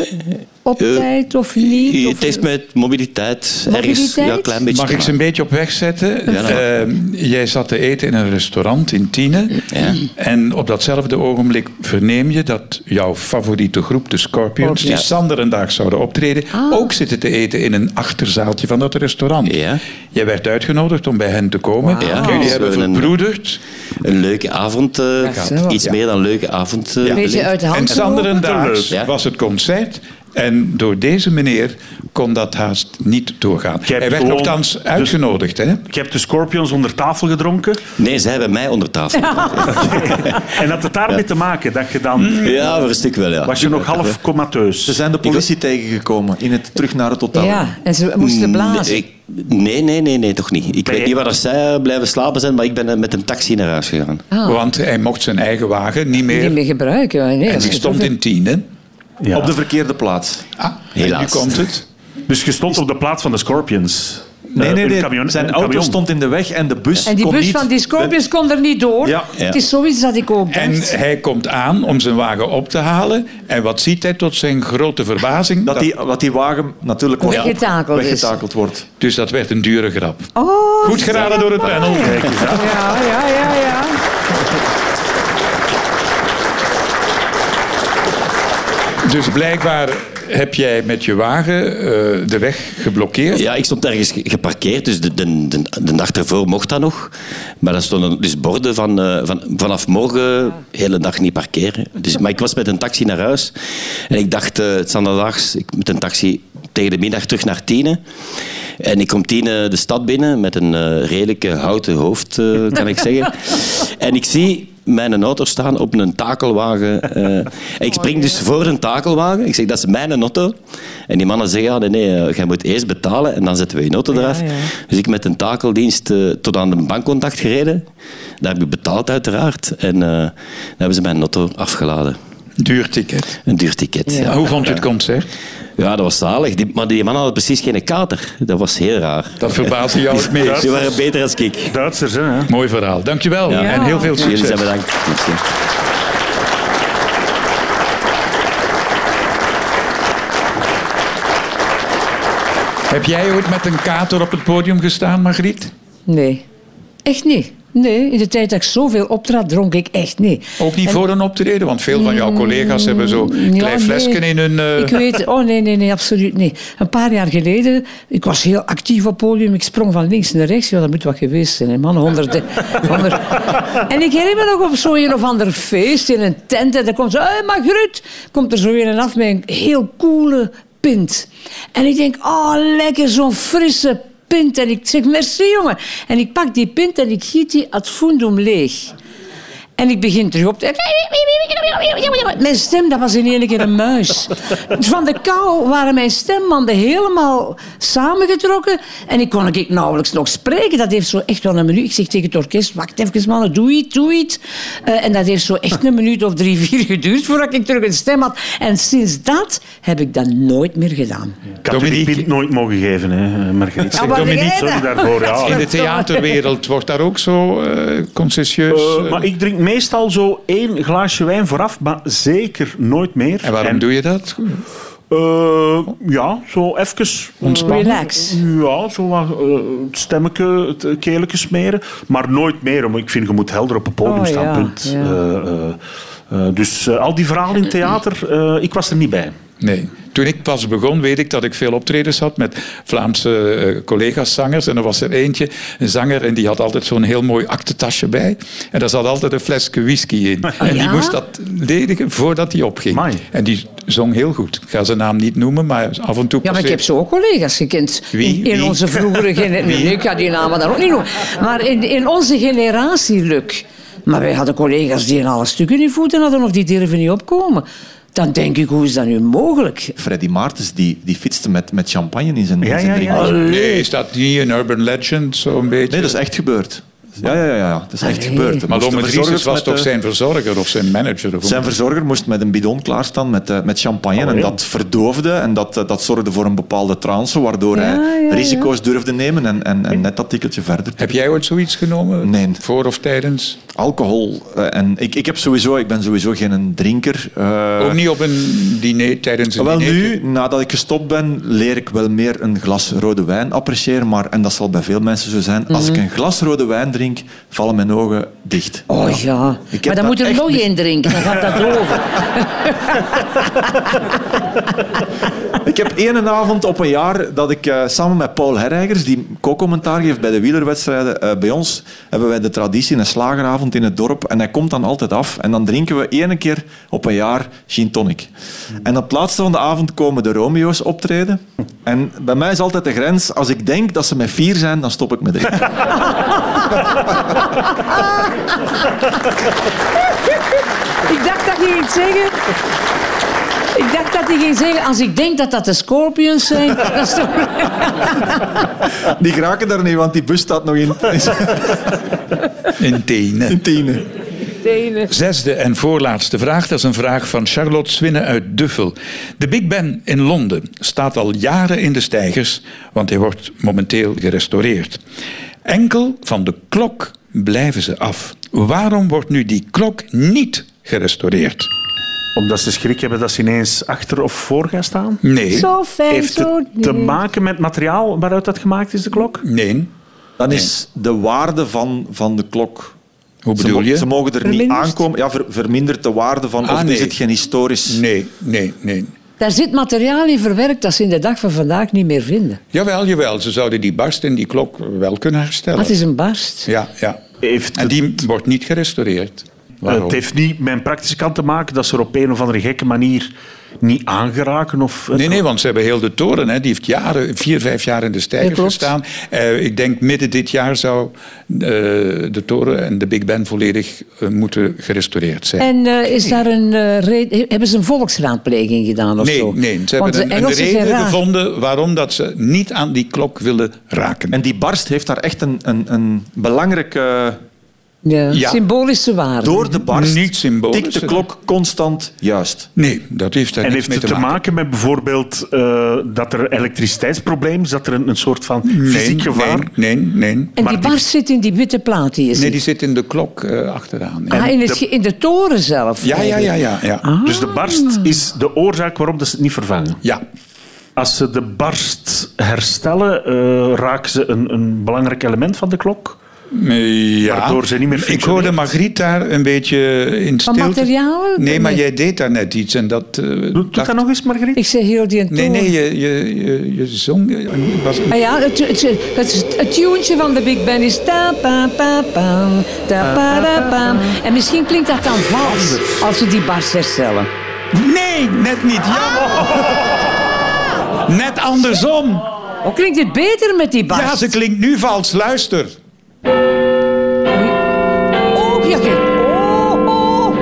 op
Eh,
tijd of niet? Of-
Het heeft met mobiliteit, ergens
Mobiliteit?
ja, een klein beetje
Mag
te
ik ze een beetje op weg zetten?
Ja, nou. dat mag.
Ehm, jij zat te eten in een restaurant in Tiene.
Ja.
En op datzelfde ogenblik verneem je dat jouw favoriete groep, de Scorpions, die
Oh, Ja.
zanderendag zouden optreden,
Ah.
ook zitten te eten in een achterzaaltje van dat restaurant.
Ja.
Jij werd uitgenodigd om bij hen te komen.
Ja,
Jullie
dus
hebben
we hebben een-
verbroederd.
Een leuke avond, eh,
gezellig.
iets
Ja.
meer dan leuke avond. eh,
Een beetje
beleefd.
uit de
En
hand gelopen?
zanderendaags
Ja.
was het concert. En door deze meneer kon dat haast niet doorgaan.
hebt
Hij werd
gewoon-
nogthans
dus-
uitgenodigd. Hè?
Ik heb de Scorpions onder tafel gedronken.
Nee, ze hebben mij onder tafel.
En had het daarmee te maken dat je dan...
Ja, voor een stuk wel, ja.
Was je nog half
Ze
comateus?
zijn de politie tegengekomen in het terug naar het hotel.
Ja, en ze moesten blazen.
Nee, Mm, ik- nee, nee, nee, nee, toch niet.
Ben
Ik weet
je-
niet waar dat zij eh, blijven slapen zijn, maar ik ben eh, met een taxi naar huis gegaan.
Want hij mocht zijn eigen wagen niet meer.
Ah. Niet meer gebruiken. Nee,
en
als
die
je
stond
dat-
in tien. Hè?
Ja.
Op de verkeerde plaats.
Ah,
Helaas.
En nu komt het.
Dus je stond op de plaats van de Scorpions.
Nee,
Eh,
nee,
een
nee.
camion-
zijn
een
auto
camion.
stond in de weg en de bus
En die
kon
bus
niet-
van die Scorpions kon er niet door.
Ja.
Ja.
Het is zoiets dat ik ook
En
dacht.
hij komt aan om zijn wagen op te halen. En wat ziet hij tot zijn grote verbazing?
Dat die, wat die wagen natuurlijk wordt op-
Weggetakeld is.
weggetakeld wordt.
Dus dat werd een dure grap.
Oh,
Goed geraden door het panel.
ja, ja, ja, ja.
Dus blijkbaar heb jij met je wagen eh, de weg geblokkeerd.
Ja, ik stond ergens ge- geparkeerd, dus de, de, de, de dag ervoor mocht dat nog. Maar daar stonden dus borden van, eh, van vanaf morgen de hele dag niet parkeren. Dus, maar ik was met een taxi naar huis en ik dacht, eh, het zondags, ik moet een taxi tegen de middag terug naar Tiene. En ik kom Tiene de stad binnen met een eh, redelijke houten hoofd, eh, kan ik zeggen. En ik zie mijn auto staan op een takelwagen. eh. En ik spring dus voor een takelwagen. Ik zeg, dat is mijn auto. En die mannen zeggen, ja, nee, nee, eh, jij moet eerst betalen en dan zetten we je auto eraf. Dus ik met een takeldienst eh, tot aan de bankcontact gereden. Daar heb ik betaald uiteraard. En eh, dan hebben ze mijn auto afgeladen.
Duur ticket.
Een duur ticket. Ja.
Hoe vond je het concert?
Ja, dat was zalig. Die, maar die mannen hadden precies geen kater. Dat was heel raar.
Dat verbaasde jou het meest.
Die waren beter als ik.
Duitsers, hè?
Mooi verhaal. Dankjewel
Ja.
en heel veel
Jullie
succes.
zijn bedankt. Merci.
Heb jij ooit met een kater op het podium gestaan, Margriet?
Nee. Echt niet. Nee, in de tijd dat ik zoveel optrad, dronk ik echt niet.
Ook niet voor een optreden, want veel van jouw collega's hebben zo
Mm, Ja,
klein
nee.
flesken in hun... eh,
Ik weet... Oh, nee, nee, nee, absoluut niet. Een paar jaar geleden, ik was heel actief op podium. Ik sprong van links naar rechts. Ja, dat moet wat geweest zijn, hè, man. 100, 100. En ik herinner me nog op zo'n of ander feest in een tent. En dan komt zo... Hé, hey, Margriet! Komt er zo weer een af met een heel coole pint. En ik denk, oh, lekker, zo'n frisse pint. En ik zeg, merci, jongen. En ik pak die pint en ik giet die ad fundum leeg. En ik begin terug op te... Mijn stem, dat was in één keer een muis. Van de kou waren mijn stembanden helemaal samengetrokken. En ik kon ik nauwelijks nog spreken. Dat heeft zo echt wel een minuut... Ik zeg tegen het orkest, wacht even mannen, doe iets, doe iets. Eh, en dat heeft zo echt een minuut of drie, vier geduurd voordat ik terug een stem had. En sinds dat heb ik dat nooit meer gedaan.
Ik had u die
Dominique.
pint nooit mogen geven, hè, eh, Margriet.
Ja, maar
Dominique,
jij
sorry
Ah, dat.
daarvoor. Ja.
In de theaterwereld wordt daar ook zo eh, concessieus...
Eh,
eh,
maar ik drink meestal zo één glaasje wijn vooraf, maar zeker nooit meer.
En waarom doe je dat?
Eh, ja, zo even... eh,
Ontspannen.
Relax.
Ja, zo wat eh, het stemmetje, het eh, keeltje smeren. Maar nooit meer, omdat ik vind, je moet helder op het podium
Oh,
staan,
ja,
punt.
ja.
Eh, eh, eh, dus eh, al die verhalen in het theater, eh, ik was er niet bij.
Nee. Toen ik pas begon, weet ik dat ik veel optredens had met Vlaamse eh, collega's-zangers. En er was er eentje, een zanger, en die had altijd zo'n heel mooi aktentasje bij. En daar zat altijd een flesje whisky in. En die
ja?
moest dat ledigen voordat hij opging.
Amai.
En die zong heel goed. Ik ga zijn naam niet noemen, maar af en toe...
Ja, maar ik heb
passeert-
zo ook collega's gekend.
Wie?
In, in
Wie?
onze vroegere generatie. Nee, ik ga die namen dan ook niet noemen. Maar in, in onze generatie, Luc. Maar wij hadden collega's die in alle stukken hun voeten hadden of die durven niet opkomen. Dan denk ik, hoe is dat nu mogelijk?
Freddy Maartens die, die fietste met, met champagne in zijn, in
Ja,
zijn
ja, ja.
drinkglas.
Nee, is dat niet een urban legend, zo'n beetje?
Nee, dat is echt gebeurd. Ja, ja, ja, ja. dat is echt
Allee.
gebeurd. Er
maar
moesten
Lomme Drieses
verzorgers
was
met,
toch
eh,
zijn verzorger of zijn manager? Of hoe
Zijn verzorger moest met een bidon klaarstaan met, eh, met champagne. en
Allee.
dat verdoofde en dat, eh, dat zorgde voor een bepaalde trance, waardoor hij risico's durfde nemen en, en, en net dat tikkeltje verder.
Heb jij ooit zoiets genomen?
Nee.
Voor of tijdens?
Alcohol. eh, en ik, ik, heb sowieso, ik ben sowieso geen drinker. eh, Ah,
Ook niet op een diner, tijdens een
Wel
diner?
nu, nadat ik gestopt ben, leer ik wel meer een glas rode wijn appreciëren. Maar, en dat zal bij veel mensen zo zijn, als
Mhm.
ik een glas rode wijn drink, vallen mijn ogen dicht.
Oh ja.
Ik heb
Maar dan
dat
moet er
echt
nog
mis-
één drinken, dan gaat dat over.
Ik heb één avond op een jaar dat ik eh, samen met Paul Herreigers, die co-commentaar geeft bij de wielerwedstrijden, eh, bij ons hebben wij de traditie een slageravond in het dorp. En hij komt dan altijd af. En dan drinken we één keer op een jaar gin tonic. En op het laatste van de avond komen de Romeo's optreden. En bij mij is altijd de grens, als ik denk dat ze met vier zijn, dan stop ik met drinken.
Ik dacht dat je ging zeggen... Ik dacht dat hij ging zeggen, als ik denk dat dat de Scorpions zijn, dan is toch...
Die geraken daar niet, want die bus staat nog in,
In tenen.
in tienen.
Zesde en voorlaatste vraag. Dat is een vraag van Charlotte Swinne uit Duffel. De Big Ben in Londen staat al jaren in de stijgers, want hij wordt momenteel gerestaureerd. Enkel van de klok blijven ze af. Waarom wordt nu die klok niet gerestaureerd?
Eh, Omdat ze schrik hebben dat ze ineens achter of voor gaan staan.
Nee.
Zo fijn,
Heeft
zo
het te maken met materiaal waaruit dat gemaakt is, de klok?
Nee.
Dan is de waarde van, van de klok.
Hoe
Ze
bedoel
mo-
je?
Ze mogen er niet
Verminderd?
aankomen. Ja, ver- vermindert de waarde van.
Ah,
of
nee.
is het geen historisch.
Nee, nee, nee.
Daar zit materiaal in verwerkt dat ze in de dag van vandaag niet meer vinden.
Jawel, jawel. Ze zouden die barst en die klok wel kunnen herstellen.
Dat is een barst.
Ja, ja.
Heeft
En die wordt niet gerestaureerd.
Eh,
Waarom?
Het heeft niet mijn praktische kant te maken dat ze er op een of andere gekke manier niet aangeraken. Of,
Nee, nee, want ze hebben heel de toren. Hè. Die heeft jaren, vier, vijf jaar in de
Ja,
stijger
klopt.
gestaan. Eh, ik denk midden dit jaar zou eh, de toren en de Big Ben volledig eh, moeten gerestaureerd zijn.
En eh, is daar een, eh, re- hebben ze een volksraadpleging gedaan of
nee,
zo?
nee, ze
Want
hebben
de
een, een
Engelsen zijn
reden
raar.
gevonden waarom dat ze niet aan die klok willen raken.
En die barst heeft daar echt een, een, een belangrijke...
Ja,
Ja.
ah, Symbolische waarde.
Door de barst
Niet symbolisch.
tikt de klok constant juist.
Nee, dat heeft daar
En
niks
heeft
mee
het
te
te
maken.
maken met bijvoorbeeld eh, dat er elektriciteitsprobleem is, dat er een, een soort van fysiek
nee,
gevaar...
Nee, nee, nee.
En
Maar
die
die-
barst zit in die witte plaat die je
Nee,
ziet.
die zit in de klok eh, achteraan. ja.
ah, in, het
de-
ge- in de toren zelf.
ja, ja, ja, ja. Ja,
Ah.
Dus de barst
Ah.
is de oorzaak waarom dat ze het niet vervangen.
ja.
Als ze de barst herstellen, eh, raken ze een, een belangrijk element van de klok.
Ja.
Waardoor ze niet meer
Ik
functioneert.
hoorde Margriet daar een beetje in
Van
stilte.
materialen?
Nee, maar
Nee.
jij deed daar net iets en dat... eh,
Doe, doe
dacht-
dat nog eens, Margriet.
Ik zeg heel die een
Nee,
toren.
nee, je, je, je, je zong... eh, en Was...
Ah ja, het, het, het, het tuentje van de Big Band is ta pa pa pam, ta pa ra pam. En misschien klinkt dat dan vals als we die bars herstellen.
Nee, net niet. Ja.
Ah!
Net andersom.
Hoe klinkt het beter met die bars?
Ja, ze klinkt nu vals. Luister.
Oh, ja, kijk. Oh, oh.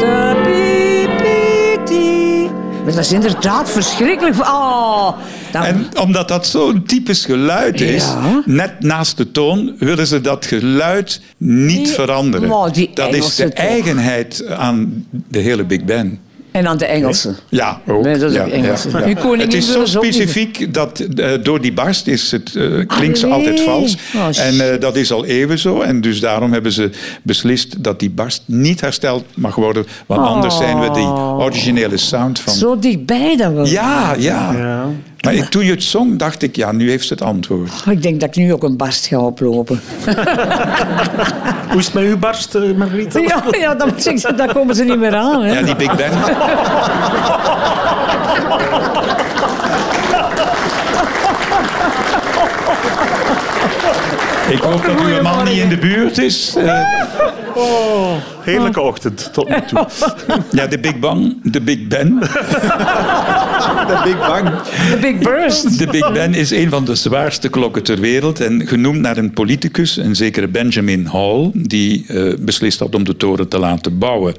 Ta pi pi ti. Maar dat is inderdaad verschrikkelijk. Oh, dat-
En omdat dat zo'n typisch geluid is,
Ja.
net naast de toon, willen ze dat geluid niet
Die-
veranderen.
Oh, die
dat is
Engelsen
de
toch.
eigenheid aan de hele Big Band.
En aan de Engelsen.
Ja, ook.
Nee, dat is
ja,
ook Engels.
ja, ja.
Uw koningin
Het is
wil
zo
dat ook niet.
specifiek dat eh, door die barst is het, eh, klinkt ze
Ah, nee.
altijd vals.
Oh, shit.
en eh, dat is al eeuwen zo. En dus daarom hebben ze beslist dat die barst niet hersteld mag worden. Want anders zijn we die originele sound van...
Oh. Zo dichtbij dan wel.
Ja, ja. Maar ik- toen je het zong, dacht ik, ja, nu heeft ze het antwoord.
Oh, ik denk dat ik nu ook een barst ga oplopen.
Hoe is het met uw barst, eh, Margriet?
Ja, ja dan, dan komen ze niet meer aan. Hè.
Ja, die Big Ben. Ik hoop dat uw man niet in de buurt is. Eh,
Heerlijke ochtend tot nu toe.
ja, de Big Bang, de Big Ben.
De Big Bang.
De Big Burst.
De Big Ben is een van de zwaarste klokken ter wereld en genoemd naar een politicus, een zekere Benjamin Hall, die eh, beslist had om de toren te laten bouwen.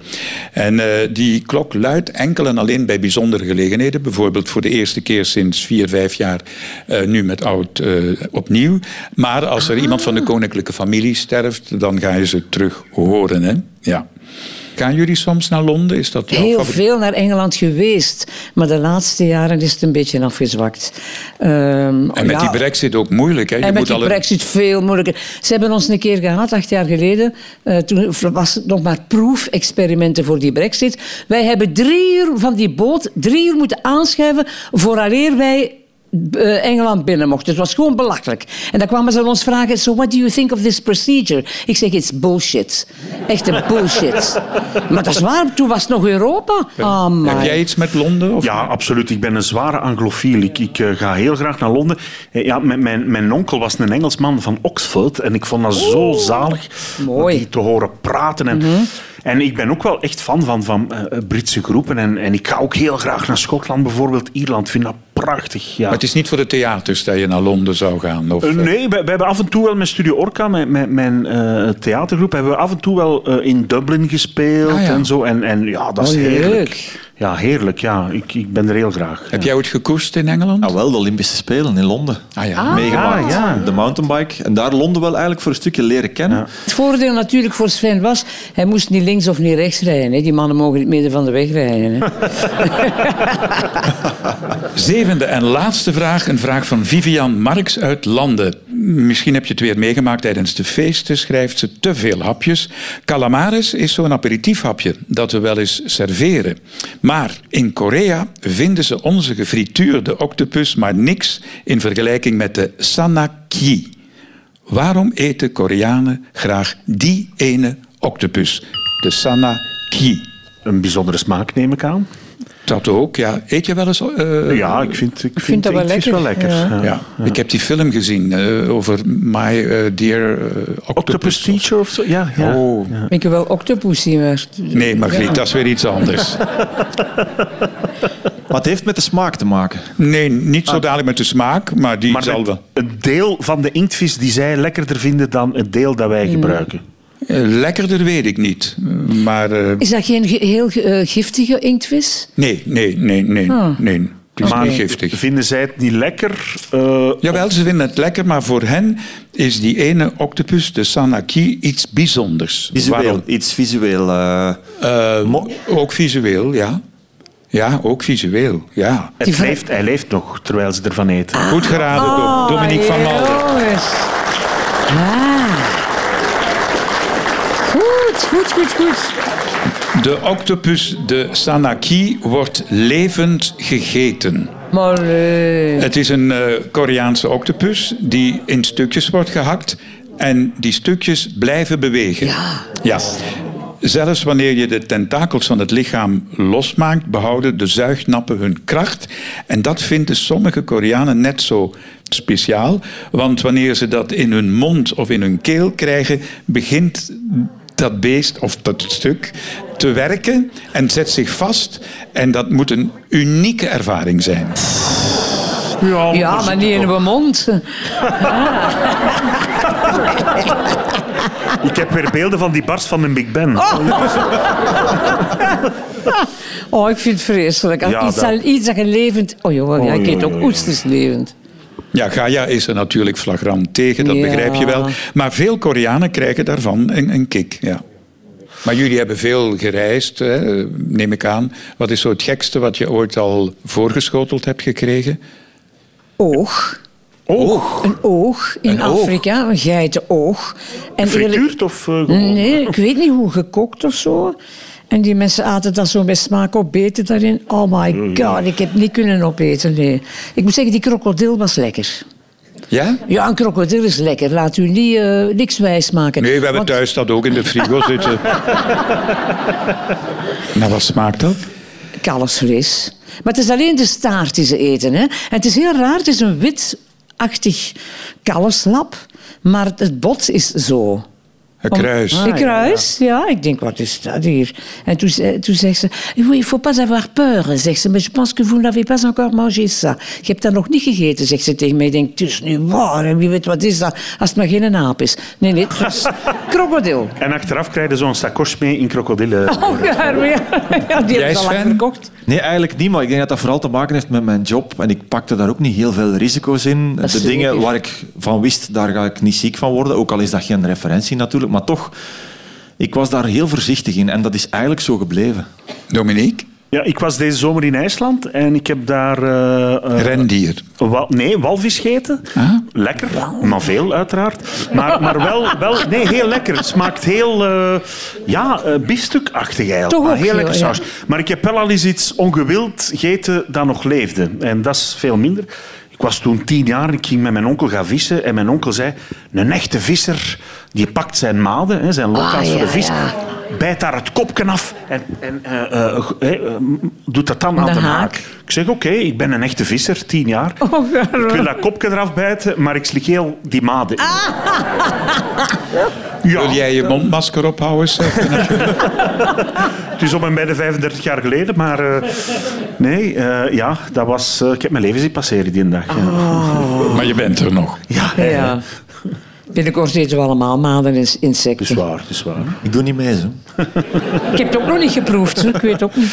En eh, die klok luidt enkel en alleen bij bijzondere gelegenheden, bijvoorbeeld voor de eerste keer sinds vier, vijf jaar, eh, nu met oud eh, opnieuw. Maar als er iemand
Ah.
van de koninklijke familie sterft, dan ga je ze terug horen. Hè? Ja. Gaan jullie soms naar Londen? Is dat jouw
Heel
favoriet?
veel naar Engeland geweest, maar de laatste jaren is het een beetje afgezwakt. Ehm,
En met
ja,
die brexit ook moeilijk. Hè? Je
en met
moet
die
al een-
brexit veel moeilijker. Ze hebben ons een keer gehad, acht jaar geleden. Eh, toen was het nog maar proefexperimenten voor die brexit. Wij hebben drie uur van die boot drie uur moeten aanschuiven vooraleer wij eh, Engeland binnen mochten. Het was gewoon belachelijk. En dan kwamen ze aan ons vragen, so what do you think of this procedure? Ik zeg, it's bullshit. Echte bullshit. maar dat is waar, toen was het nog Europa. Ah,
Heb
my.
jij iets met Londen? Of
Ja, absoluut. Ik ben een zware anglofiel. Ik, ik eh, ga heel graag naar Londen. Eh, Ja, mijn, mijn, mijn onkel was een Engelsman van Oxford. En ik vond dat zo zalig om
Mooi.
die te horen praten.
Mhm.
En, en ik ben ook wel echt fan van, van eh, Britse groepen. En, en ik ga ook heel graag naar Schotland, bijvoorbeeld Ierland. Ik vind dat prachtig. Ja.
Maar het is niet voor de theaters dat je naar Londen zou gaan. Of,
Eh,
eh,
nee, we, hebben af en toe wel met Studio Orca, mijn, mijn, mijn eh, theatergroep, hebben we af en toe wel eh, in Dublin gespeeld
Ah, ja.
en zo. En, en ja, dat is
Oh,
heerlijk.
leuk.
Ja, heerlijk. Ja, ik, ik ben er heel graag.
Heb
ja.
jij ooit gekoest in Engeland?
Nou wel, de Olympische Spelen in Londen.
Ah ja.
Meegemaakt.
ja, ja.
De mountainbike. En daar Londen wel eigenlijk voor een stukje leren kennen.
Het voordeel natuurlijk voor Sven was, hij moest niet links of niet rechts rijden. Hè. Die mannen mogen niet midden van de weg rijden. Hè.
Zevende en laatste vraag. Een vraag van Vivian Marx uit Landen. Misschien heb je het weer meegemaakt tijdens de feesten. Schrijft ze te veel hapjes. Calamares is zo'n aperitiefhapje dat we wel eens serveren. Maar in Korea vinden ze onze gefrituurde octopus maar niks in vergelijking met de sanaki. Waarom eten Koreanen graag die ene octopus? De sanaki.
Een bijzondere smaak, neem ik aan.
Dat ook, ja. Eet je wel eens... eh,
Ja, ik vind, ik vind,
vind dat wel
inktvis wel
lekker,
lekker.
ja.
Ja.
ja. Ik heb die film gezien eh, over My eh, Dear eh, Octopus.
Octopus Teacher of zo? Ja, ja.
Oh,
Ik heb wel octopus zien, maar...
nee, Margriet, dat is weer iets anders.
Maar het heeft met de smaak te maken.
Nee, niet zo dadelijk met de smaak, maar die
Maar
zal
het-
wel.
een deel van de inktvis die zij lekkerder vinden dan het deel dat
Mm.
wij gebruiken.
Eh, Lekkerder weet ik niet. Maar eh,
Is dat geen ge- heel eh, giftige inktvis?
nee, nee, nee, nee, nee. Het is
Maar
niet giftig.
vinden zij het niet lekker? eh,
Jawel, ze vinden het lekker, maar voor hen is die ene octopus, de Sanaki, iets bijzonders.
Visueel,
Waarom?
iets visueel. eh,
Eh,
Mo-
ook visueel, ja. Ja, ook visueel, ja.
het leeft, hij leeft nog, terwijl ze ervan eten.
Goed geraden door Dominique van Malden.
jongens.
Ah.
Goed, goed, goed, goed.
De octopus, de Sanaki, wordt levend gegeten.
Maar eh,
Het is een eh, Koreaanse octopus die in stukjes wordt gehakt en die stukjes blijven bewegen. Ja. Zelfs wanneer je de tentakels van het lichaam losmaakt, behouden de zuignappen hun kracht. En dat vinden sommige Koreanen net zo speciaal. Want wanneer ze dat in hun mond of in hun keel krijgen, begint dat beest of dat stuk te werken en zet zich vast. En dat moet een unieke ervaring zijn.
Ja,
Ja, maar niet in mijn mond.
Ik heb weer beelden van die barst van een Big Ben.
Oh, ik vind het vreselijk. Als
Ja,
iets,
dat-
dat... iets dat je levend... Oh joh, ja, ik eet ook oesters levend.
Ja, Gaia is er natuurlijk flagrant tegen, dat
Ja.
begrijp je wel. Maar veel Koreanen krijgen daarvan een, een kick, ja. Maar jullie hebben veel gereisd, hè, neem ik aan. Wat is zo het gekste wat je ooit al voorgeschoteld hebt gekregen?
Oog. Oog? Een oog in
Een oog?
Afrika, een geitenoog. En eerlijk-
Frituurd of eh, gewoon?
Nee, ik weet niet hoe, gekookt of zo. En die mensen aten dat zo met smaak op, beten daarin. Oh my god, ik heb niet kunnen opeten, nee. Ik moet zeggen, die krokodil was lekker.
Ja?
Ja, een krokodil is lekker. Laat u niet, eh, niks wijs maken.
Nee, we hebben
Want-
thuis dat ook in de frigo zitten. nou, wat smaakt dat?
kalfsvlees. Maar het is alleen de staart die ze eten. Hè? En het is heel raar, het is een witachtig kalfslap, maar het bot is zo.
Een
Om-
kruis.
Een kruis, Ah, ja, Ik denk, wat is dat hier? En toen, ze- toen zegt ze, oui, il faut pas avoir peur, zegt ze. Mais je pense que vous n'avez pas encore mangé ça. Je hebt dat nog niet gegeten, zegt ze tegen mij. Ik denk, het is niet waar, en wie weet wat is dat? Als het maar geen aap is. Nee, nee, het is krokodil.
En achteraf krijgen ze zo'n sakos mee in krokodillen.
oh, ja, maar ja, ja, die
Jij,
hebben ze al lang
Sven?
verkocht.
Nee, eigenlijk niet, maar ik denk dat dat vooral te maken heeft met mijn job. En ik pakte daar ook niet heel veel risico's in. de
zeker.
dingen waar ik van wist, daar ga ik niet ziek van worden. Ook al is dat geen referentie natuurlijk. Maar toch, ik was daar heel voorzichtig in. En dat is eigenlijk zo gebleven.
Dominique?
Ja, ik was deze zomer in IJsland en ik heb daar... eh, eh,
Rendier.
Wa- nee, walvis gegeten.
Ah.
Lekker, maar veel uiteraard. Maar, maar wel, wel, nee, heel lekker. Het smaakt heel, eh, ja, eh, biefstukachtig eigenlijk.
Toch
maar
ook
heel
heel,
lekker
ja.
saus. Maar ik heb wel al eens iets ongewild gegeten dat nog leefde. En dat is veel minder. Ik was toen tien jaar en ik ging met mijn onkel gaan vissen. En mijn onkel zei, een echte visser, die pakt zijn maden, hè, zijn loka's
Ah,
voor de
ja,
vis,
ja.
bijt daar het kopje af en, en eh, eh, eh, eh, doet dat dan aan de,
De
haak.
haak.
Ik zeg, oké, ik ben een echte visser, tien jaar. Ik wil dat kopje eraf bijten, maar ik slik heel die maden in.
Wil
Ja,
jij je mondmasker ophouden? Stef?
het is om en bij de 35 jaar geleden, maar eh, nee, eh, ja, dat was, eh, ik heb mijn leven zien passeren die dag. ja.
maar je bent er nog.
Ja,
Ja.
ja, ja.
Binnenkort eten we allemaal maanden en
Het
insecten.
is waar, het is waar.
Ik doe niet mee, zo.
Ik heb het ook nog niet geproefd, hè. ik weet ook niet.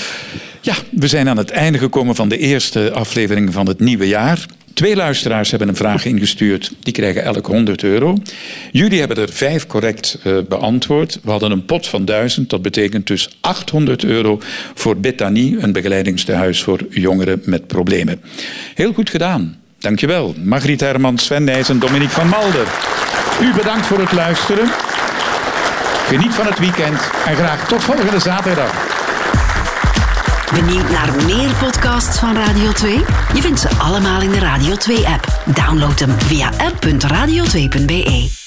Ja, we zijn aan het einde gekomen van de eerste aflevering van het nieuwe jaar. Twee luisteraars hebben een vraag ingestuurd. Die krijgen elk 100 euro. Jullie hebben er vijf correct eh, beantwoord. We hadden een pot van 1000. Dat betekent dus 800 euro voor Bethany, een begeleidingstehuis voor jongeren met problemen. Heel goed gedaan. Dankjewel. Margriet Herman, Sven Nijs en Dominique van Malden. U bedankt voor het luisteren. Geniet van het weekend en graag tot volgende zaterdag.
Benieuwd naar meer podcasts van Radio 2? Je vindt ze allemaal in de Radio 2-app. Download hem via app.radio2.be.